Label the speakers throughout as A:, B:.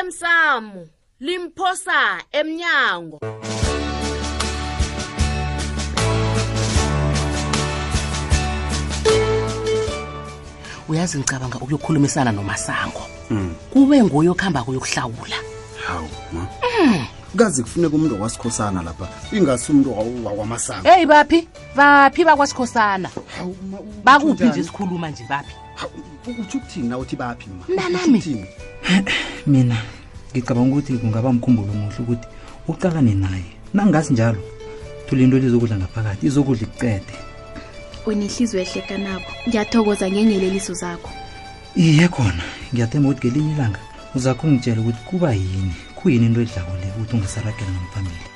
A: osemsamo limphosa emnyango
B: uyazi ngicabanga ukuyokhulumisana nomasango kube nguye okuhamba kuyokuhlawula
C: hawu ma
B: Eh.
C: kazi kufuneka umntu wasikhosana lapha ingasi umntu wakwamasango
B: eyi baphi baphi bakwasikhosana
C: hawu ma, u-
B: bakuphi
C: utsho
B: nje
C: njani?
B: sikhuluma nje baphi
C: Hawu, u- utsho ukuthini na uthi baphi ma
B: Mntanami.
C: Utsho ukuthini?
D: mina ngicabanga ukuthi kungaba mkhumbulo muhle ukuthi uqalane naye nangasi njalo thula into lizokudla ngaphakathi izokudla ikucede
E: unenhliziyo ehle kanabo ngiyathokoza ngenyeleliso zakho
D: iye khona ngiyathemba ukuthi ngelinye ilanga uzakho ungitshela ukuthi kuba yini kuyini into edlako le ukuthi ungisaragela ngamphambili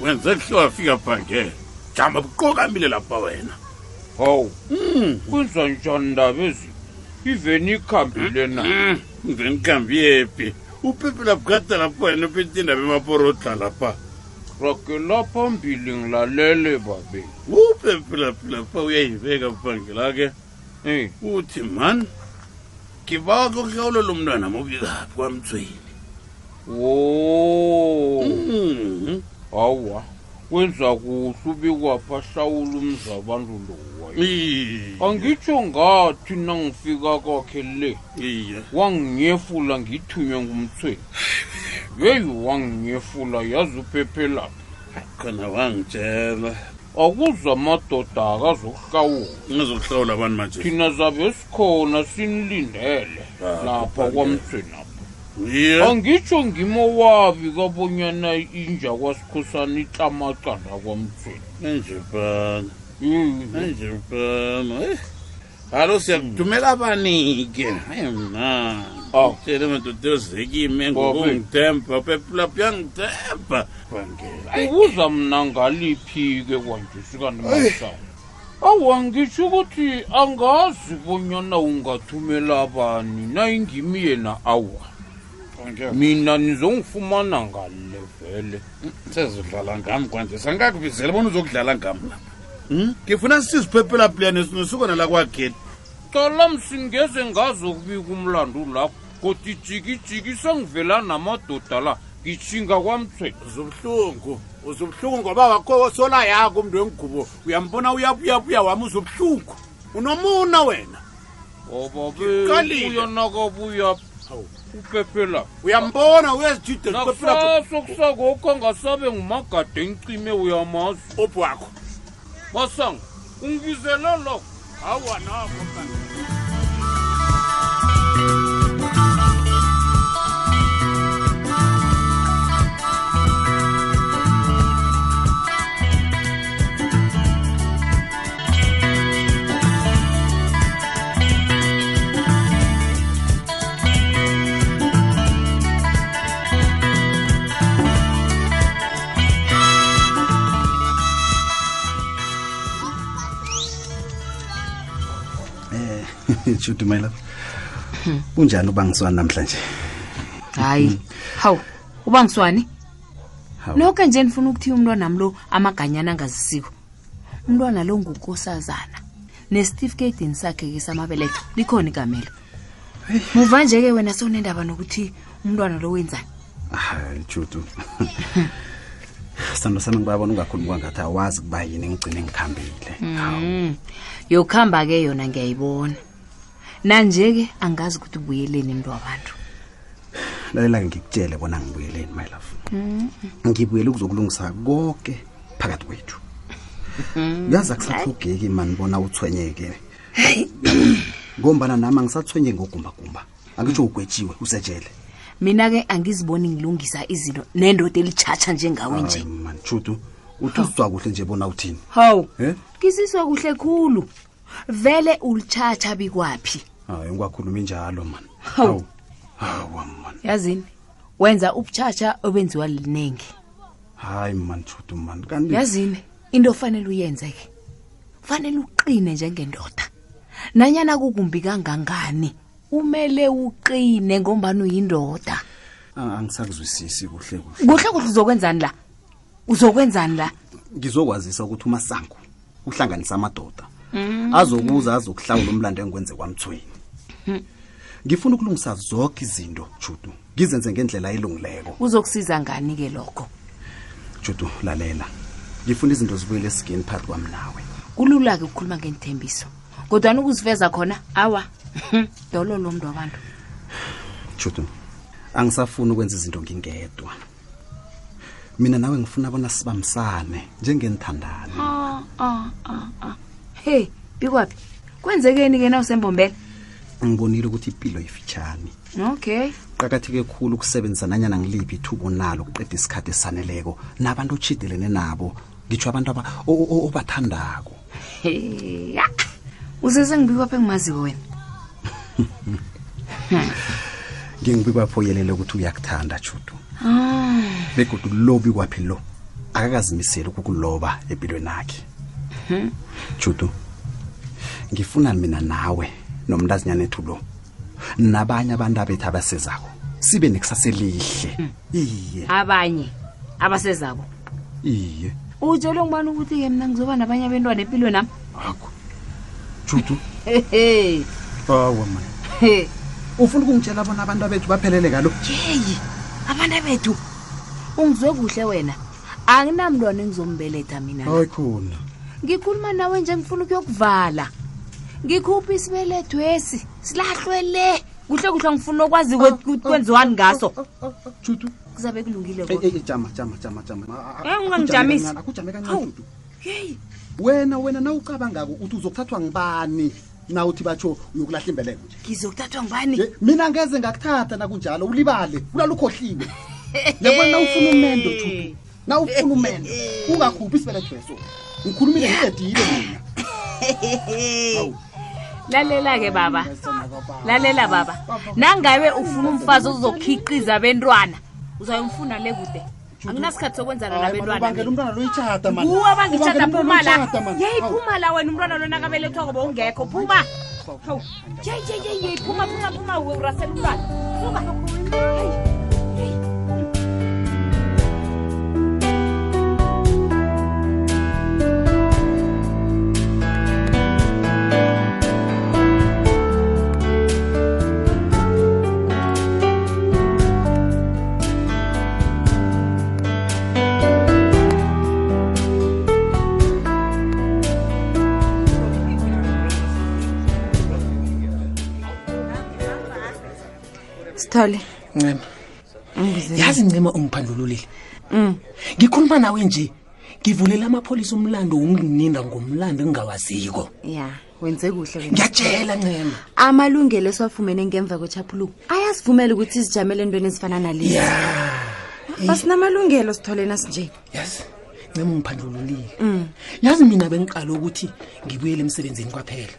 F: wenze kuhle wafika bhange jama buqokamile lapha wena
G: hawu Hmm. kwenza njani ndaba ezi iveni ikhambile na
F: Mm, ngeni kambi yephi upepe labugada lapha wena upete indaba emaporodla lapha
G: ragela phambili ngilalele babe
F: upepe laphi lapha uyayiveka bhange lake
G: Eh,
F: uthi mani ngibawa kokuhlawulela umntwana mobikaphi kwamtsweni
G: wo
F: Mm,
G: hawa kwenza kuhle ubikwapha hlawula umzabantu lowa
F: iye,
G: angitsho ngathi nangifika kwakhe le
F: iye.
G: wanginyefula ngithunywe ngumthweni yeyi wanginyefula yazi uphephe lapha
F: khona wangitshela
G: akuza amadoda akazokuhlawula
F: ngizokuhlawula abantu manje
G: thina zabe sikhona sinilindele
F: Ah,
G: lapha
F: kubhangela.
G: kwamthenapha
F: iye
G: angitsho ngimowabi kabonyana inja kwasikhosana itlamacanda kwamthweni
F: enje bana
G: Mm.
F: enje bana Eh, alo siyakuthumela abanike hayi mna
G: Aw.
F: tshele madoda ozekime
G: Ngoba-
F: ngokungitemba peplap yangitemba bangela
G: ubuza mna ngaliphi-ke kwanje sikanimasa awu angitsho ukuthi angazi bonyana ungathumela abani nayingimi yena awa
F: bangela
G: mina nizongifumana ngale vele
F: sezidlala ngam kwanje sangakubizela bona uzokudlala ngam lapha Hmm? ngifuna siziphephela plane sinosukona la kwageti
G: cala msingeze ngazo kubika umlandu lapho kodwa ijikijiki sengivela namadoda la ngijinga kwamthweni
F: uzubuhlungu uzubuhlungu ngoba wakho sola yakho umntu wengubo uyambona uyabuyabuya wami uzubuhlungu unomuna wena Ngiqalile.
G: obabeyonakabuya
F: Hawu.
G: upepe lapho
F: uyambona uyazijide
G: nakusaso kusakokho angasabe ngumagade encime uyamazi
F: obho wakho
G: masanga ungibizela lokho
F: hawa nako
C: shuti my love unjani ubangiswani namhlanje
H: hayi hawu ubangiswani
C: Hawu.
H: noke nje ndifuna ukuthiya umntwanam lo amaganyana angazisiko umntwana lo ngukosazana nesitifiketini sakhe-ke samabeletho likhona igamelo muva nje-ke wena sewunendaba nokuthi umntwana lo wenzani
C: hayi shutu sithando sami ngibabona ungakhulumi kwangathi awazi kuba yini ngigcine ngikhambile
B: Mm.
C: hawu
H: Hmm, yokuhamba-ke yona ngiyayibona nanje-ke angazi ukuthi ubuyeleni mntu wabantu
C: lalela ngikutshele bona ngibuyeleni my love ngibuyele kuzokulungisa konke phakathi kwethu yaza kusahlogeki mani bona uthwenyeke ngombana nami angisathwenye ngogumbagumba angitsho ugwetshiwe usejele
H: mina-ke angiziboni ngilungisa izinto nendoda elitshatsha njengawe
C: Hayi,
H: nje
C: man shutu uthi uzwa kuhle nje bona uthini
H: hawu
C: Eh?
H: kisiswa kuhle khulu vele ulitshatsha bikwaphi
C: hayi ungakhulumi njalo mani
H: Hawu.
C: hawa mani
H: yazini wenza ubutshatsha obenziwa liningi
C: hayi mani shutu mani kanti
H: yazini into ofanele uyenze ke fanele uqine njengendoda nanyana kukumbi kangangani umele uqine ngombani uyindoda
C: Ah, angisakuzwisisi kuhle kuhle
H: kuhle kuhle uzokwenzani la uzokwenzani la
C: ngizokwazisa ukuthi umasango uhlanganisa amadoda azokuza azokuhlawula umlando engikwenze kwamthweni ngifuna ukulungisa zonke izinto judu ngizenze ngendlela elungileko
H: uzokusiza ngani-ke lokho
C: judu lalela ngifuna izinto zibuyele esigeni phakathi kwami nawe
H: kulula-ke ukukhuluma ngenithembiso kodwani ukuziveza khona awa dololo mntu wabantu
C: judu angisafuni ukwenza izinto ngingedwa mina nawe ngifuna bona sibambisane njengenithandane
H: heyi bikwaphi kwenzekeni-ke na usembombela
C: ngibonile ukuthi impilo ifitshane
H: okay
C: qakatheke khulu ukusebenzisa nanyana ngiliphi ithuba nalo ukuqeda isikhathi esaneleko nabantu otshidelene nabo ngitsho abantu aba- o- o- obathandako
H: Hey, ya. uzeze ngibikwaphi engimaziwe wena
C: ngingibikwapho uyelele ukuthi uyakuthanda judu begodwa lobi kwaphi lo akakazimiseli ukukuloba empilweni akhe judu ngifuna mina nawe nomntazinyana lo nabanye abantu abethu abasezako sibe nekusasa elihle iye
H: abanye abasezabo
C: iye
H: utshelwe ngubani ukuthi-ke mna ngizoba nabanye abentwana empilweni nami
C: akho judu
H: hehe
C: awa mani
H: he
C: ufuna ukungitshela bona abantu abethu baphelele kalo
H: yeyi abantu bethu ungizwe kuhle wena anginamntwana engizombeletha mina la.
C: hayi khona
H: ngikhuluma nawe nje ngifuna ukuyokuvala ngikhupha isibelethwesi silahlwe le kuhle kuhle ngifuna okwazi kwe- ku- kwenziwani ngaso
C: judu
H: kuzabe kulungile
C: Ey,
H: kodwa
C: ey, ey, jama jama jama jama A- a-
H: Eh,
C: akujame
H: ungangijamisi.
C: kancane, akujame
H: Hawu.
C: kancane Dudu. wena wena nawucabangako uthi uzokuthathwa ngibani na uthi batsho uyokulahla imbeleko nje
H: ngizokuthathwa ngubani
C: nje mina ngeze ngakuthatha nakunjalo ulibale ulala ukhohliwe yabona nawufuna umendo judu nawufuna umendo ungakhuphi isibeletweso ngikhulumile ngiqedile mina
H: lalela-ke baba lalela baba nangabe ufuna umfazi ozokhiqiza abentwana uzayomfuna le kude anginasikhathi sokwenzana
C: Hayi, man,
H: nabentwana
C: ubangela umntwana loyitshata man.
H: kuwa
C: Ubangela
H: bangitshata
C: umntwana
H: phuma la
C: loyitjhada, man.
H: yeyi
C: Hawu.
H: phuma la wena umntwana lona kabelethwako bowungekho phuma Hawu. yeyi yeyi yeyi yeyi phuma phuma phuma we, urasela umntwana phuma Hayi.
I: sithole
J: ncema yazi ncema ungiphandululile ngikhuluma nawe nje ngivulela amapholisa umlando wokungininda ngomlando engingawaziko
I: ya wenze kuhle wena.
J: ngiyatshela ncema
I: amalungelo esiwafumene ngemva kwechapuluko ayasivumela ukuthi sizijamele entweni ezifana nalezi Ah,
J: ya
I: asinamalungelo sitholena sinje
J: yazi ncema ungiphandululile yazi mina bengiqale ukuthi ngibuyele emsebenzini kwaphela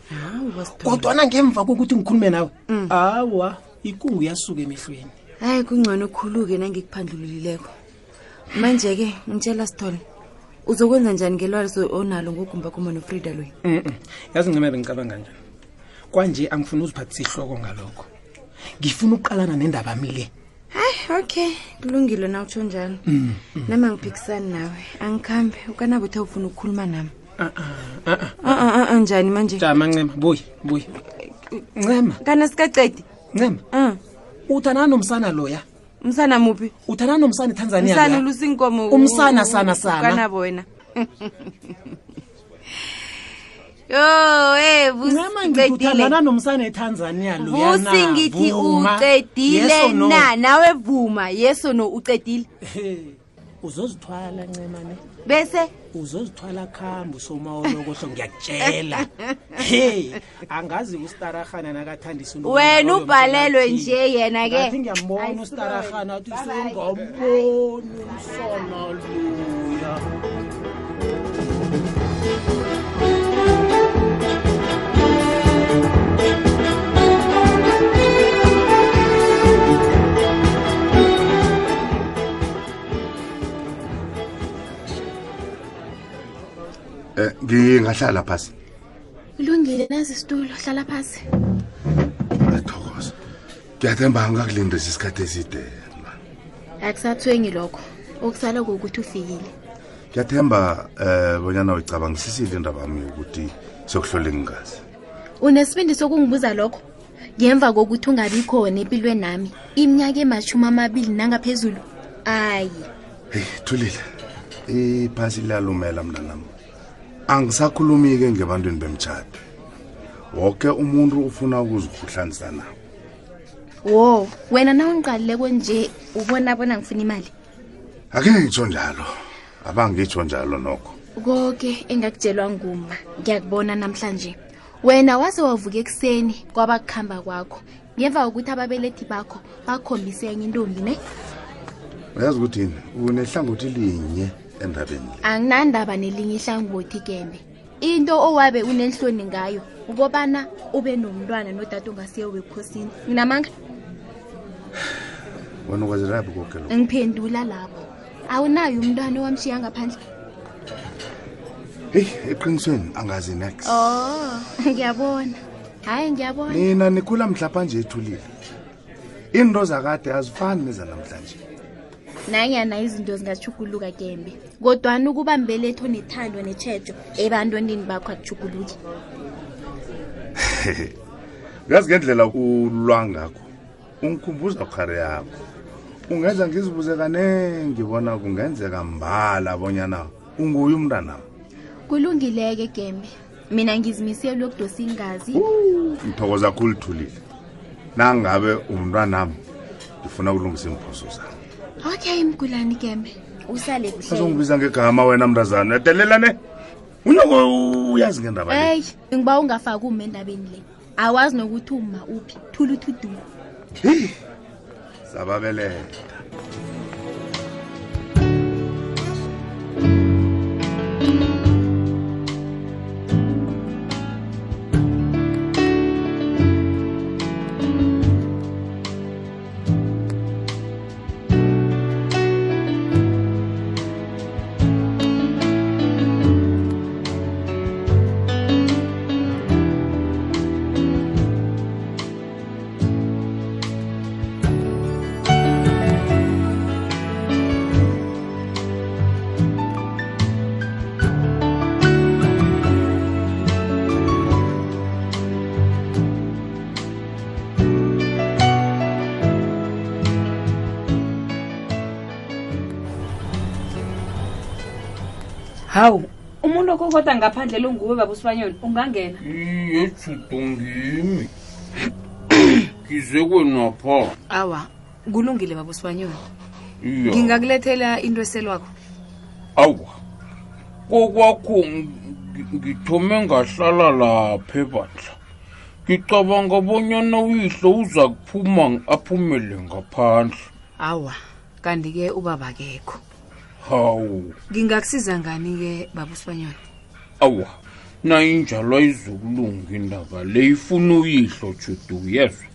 J: kodwana ngemva kokuthi ngikhulume nawe awa ikungu yasuka emehlweni
I: hayi kungcono khulu-ke nangikuphandlululileko manje-ke ngitshela sithole uzokwenza njani ngelwazo onalo ngogumba kumonofrida lweni
J: Mm-mm. yazi ncema bengicabanga njani kwanje angifuni uziphathisa ihloko ngalokho ngifuna ukuqalana nendaba yami le
I: hayi okay kulungile na utsho njalo nama ngiphikisani nawe angikhambe ukanabo uthe ufuna ukukhuluma nami Ah, ah, ah, ah, njani manje
J: jama ncema buye buye ncema
I: kana sikacedi
J: ncema
I: um
J: uthandana nomsana loya
I: msana muphi
J: uthandana nomsana etanzania
I: msana
J: loya?
I: lusinkomo
J: Umsana sana sana.
I: kanabo wena yo e
J: ncema ngithi uthandana
I: busiqedile
J: nomsana etanzania loya na?
I: busi ngithi
J: Vuma.
I: ucedile
J: Yes or no?
I: na nawe vuma yeso no ucedile
J: He, uzozithwala ncema ne
I: bese
J: uzozithwala khambi somawolokohlo ngiyakutshela he angazi ustarahana nakathandisa uNomsa
I: wena
J: loyo
I: ubhalelwe
J: mhlana.
I: nje yena ke
J: ngathi ngiyambona ustarahana athi sengamboni umsana luya
K: Eh, ngingahlala phasi
E: kulungile nazi isitulo hlala phasi
K: ngiyathokoza ngiyathemba angakulindisa isikhathi eside
E: akusathwengi lokho okusala kokuthi ufikile
K: ngiyathemba um bonyana uyicabangisisile indaba yami ukuthi sokuhlola ngingazi
E: unesibindi sokungibuza lokho ngemva kokuthi ungabi khona empilweni nami iminyaka emashumi amabili nangaphezulu ayi
K: heyi thulile iphasi liyalumela mntanam angisakhulumi-ke ngebantwini bemtshato woke umuntu ufuna ukuzikhuhlanisa nawo
E: wo wena na ungiqalile konje ubona bona ngifuna imali
K: ake ngitsho njalo abangitsho njalo nokho
E: konke engakutshelwa nguma ngiyakubona namhlanje wena waze wavuka ekuseni kwaba kuhamba kwakho ngemva kokuthi ababelethi bakho bakhombise enye intombi ne
K: uyazi ukuthi yini unehlangothi linye endabeni le
E: anginandaba nelinye ihlangothi kembe into owabe unenhloni ngayo ukobana ube nomntwana nodade ongasiyo wekhosini nginamanga
K: wena ukwaziraphi koke lokho
E: ngiphendula lapho awunayo umntwana owamshiya ngaphandle
K: heyi eqinisweni angazi next
E: oh ngiyabona hhayi ngiyabona
K: nina nikhula mhlapha-nje ethulile iinto zakade azifani nezanamhlanje
E: nanyana izinto zingatshuguluka kembe kodwana ukuba mbeletho nethando netshejo ebantwaneni bakho akutshuguluki
K: uyazi ngendlela ulwa ngakho ungikhumbuza ukhari yakho ungenza ngizibuze kanengi bona kungenzeka mbala bonyana unguye umntanam
E: kulungileke gembe mina ngizimisele ukudosa ingazi
K: ngithokoza khulu thulile nangabe umntwanam ngifuna ukulungisa iimphoso zami
E: okay mgulani gembe usale kuhle
K: azongibiza ngegama wena mntazana edelelane unyoko uyazi ngendaba le
E: eyi ngiba ungafaki uma endabeni le awazi nokuthi uma uphi thula uthi uduma
K: heyi sababelela
L: hawu umuntu okokodwa ngaphandle lunguwe baba usibanyoni ungangena
G: iye judo ngimi ngize kwenapha
H: awa kulungile baba usibanyoni
G: iya
H: ngingakulethela into eselwakho
G: awa kokwakho ngi- ngithome ngahlala lapha ebandla ngicabanga bonyana uyihlo uza kuphuma aphumele ngaphandle
H: awa kanti-ke ubaba kekho
G: hawu
H: ngingakusiza ngani-ke baba usibanyoni
G: awa nayinjalo ayizokulunga indaba le ifuna uyihlo judu yezwa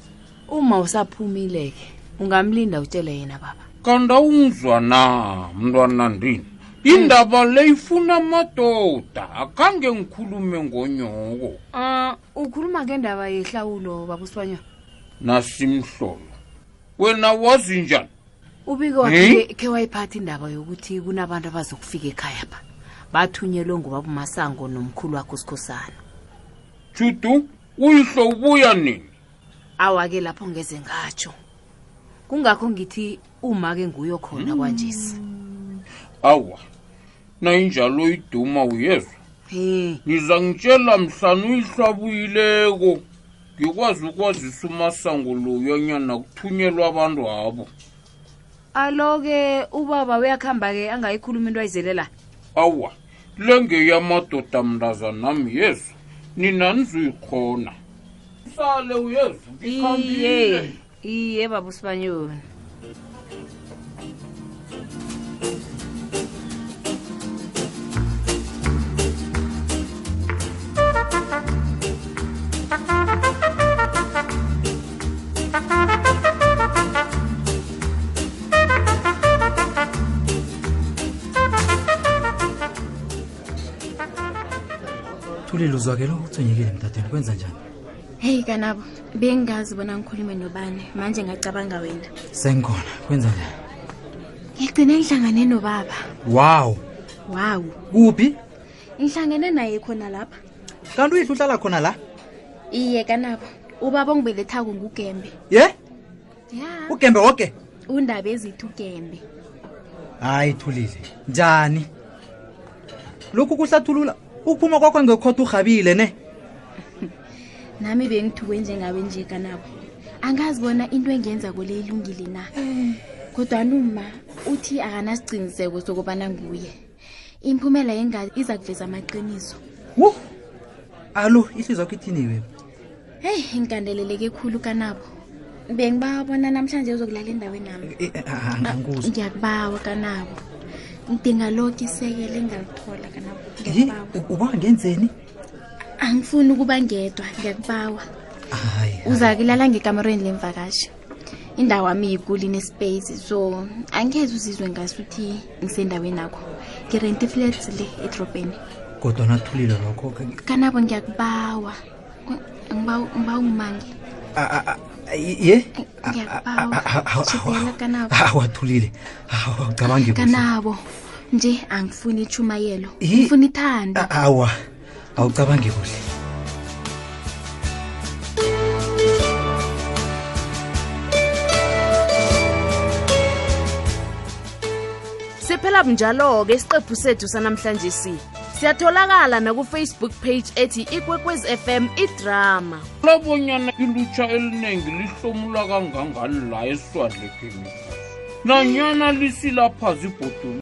H: uma usaphumile-ke ungamlinda utshele yena baba
G: kanti awungizwa na mntwana ndini indaba le ifuna amadoda akhange ngikhulume ngonyoko
H: um ukhuluma ngendaba yehlawulo baba usibanyoni
G: nasimhlolo wena wazi njani
H: ubike
G: Hey?
H: wakhe khe wayiphatha indaba yokuthi kunabantu abazokufika ekhaya pha bathunyelwe ngubaba umasango nomkhulu wakho usikhosana
G: judu uyihlo ubuya nini
H: awa-ke lapho ngeze ngatsho kungakho ngithi uma-ke nguyo
L: Hmm.
H: khona kwanjesi
G: awa nayinjalo iduma uyezwa
H: he
G: ngiza ngitshela mhlana uyihlo abuyileko ngikwazi ukwazisa umasango loyanyana kuthunyelwa abantu abo
H: alo-ke ubaba uyakuhamba-ke angayikhuluma into ayizelela
G: awa lengeyamadoda mntazanami yesu nina nizuyikhona sale uyezu
H: iye iye baba usibanyoni
D: thule
J: umlilo uzwakela uthonyekile emtatweni kwenza njani
E: heyi kanabo bengazi bona ngikhulume nobani manje ngacabanga wena
J: sengikhona kwenza njani
E: ngigcine ngihlangane nobaba
J: waw
E: wawu
J: kuphi
E: ngihlangene naye khona lapha
J: kanti uyihle uhlala khona la
E: iye kanabo ubaba ongibelethako ngugembe
J: ye
E: ya
J: ugembe woke
E: undaba ezithi ugembe
J: hayi thulile njani lokhu kuhlathulula ukuphuma kwakho ngekhotha urhabile ne
E: nami bengithuke njengawe nje kanabo angazi bona into engenza kole ilungile na kodwa numa uthi akanasiqiniseko sokubana nguye imphumela yengazi iza kuveza amaqiniso
J: wu alo ihliziyo yakho ithini wena
E: heyi ngigandeleleke khulu kanabo bengibabona namhlanje uzokulala endaweni nami
J: Eh, eh, ah, ah, angikuzwa.
E: ngiyakubawa kanabo ngidinga lokhu isekelo engalithola kanabo
J: Yi,
E: ngiyakubawa
J: uba ngenzeni
E: angifuni ukuba ngedwa ngiyakubawa uzakulala ngekamereni lemvakashi indawo ami yikuli nespace so angeze uzizwe ngasuthi ngisendaweni akho ngirenti flats le edrobheni
J: kodwa nathulile lokho ke-
E: kanabo ngiyakubawa Ngibawa- ngibawa ungimange
J: Ah, ah, ah, ye
E: ngiyakubawa
J: ah, ah, ah,
E: sitela kanabo
J: awathulile awacabangi
E: kanabo nje angifuni ichumayelo ngifuna ithando
J: awa awucabangi kuhle
H: siphela bunjalo-ke isiqephu sethu sanamhlanje si siyatholakala nakufacebook page ethi ikwekwez fm idrama
G: labonyana ilutsha eliningi lihlomula kangangani la eswadlekheni nanyana lisilaphazi ibhodulu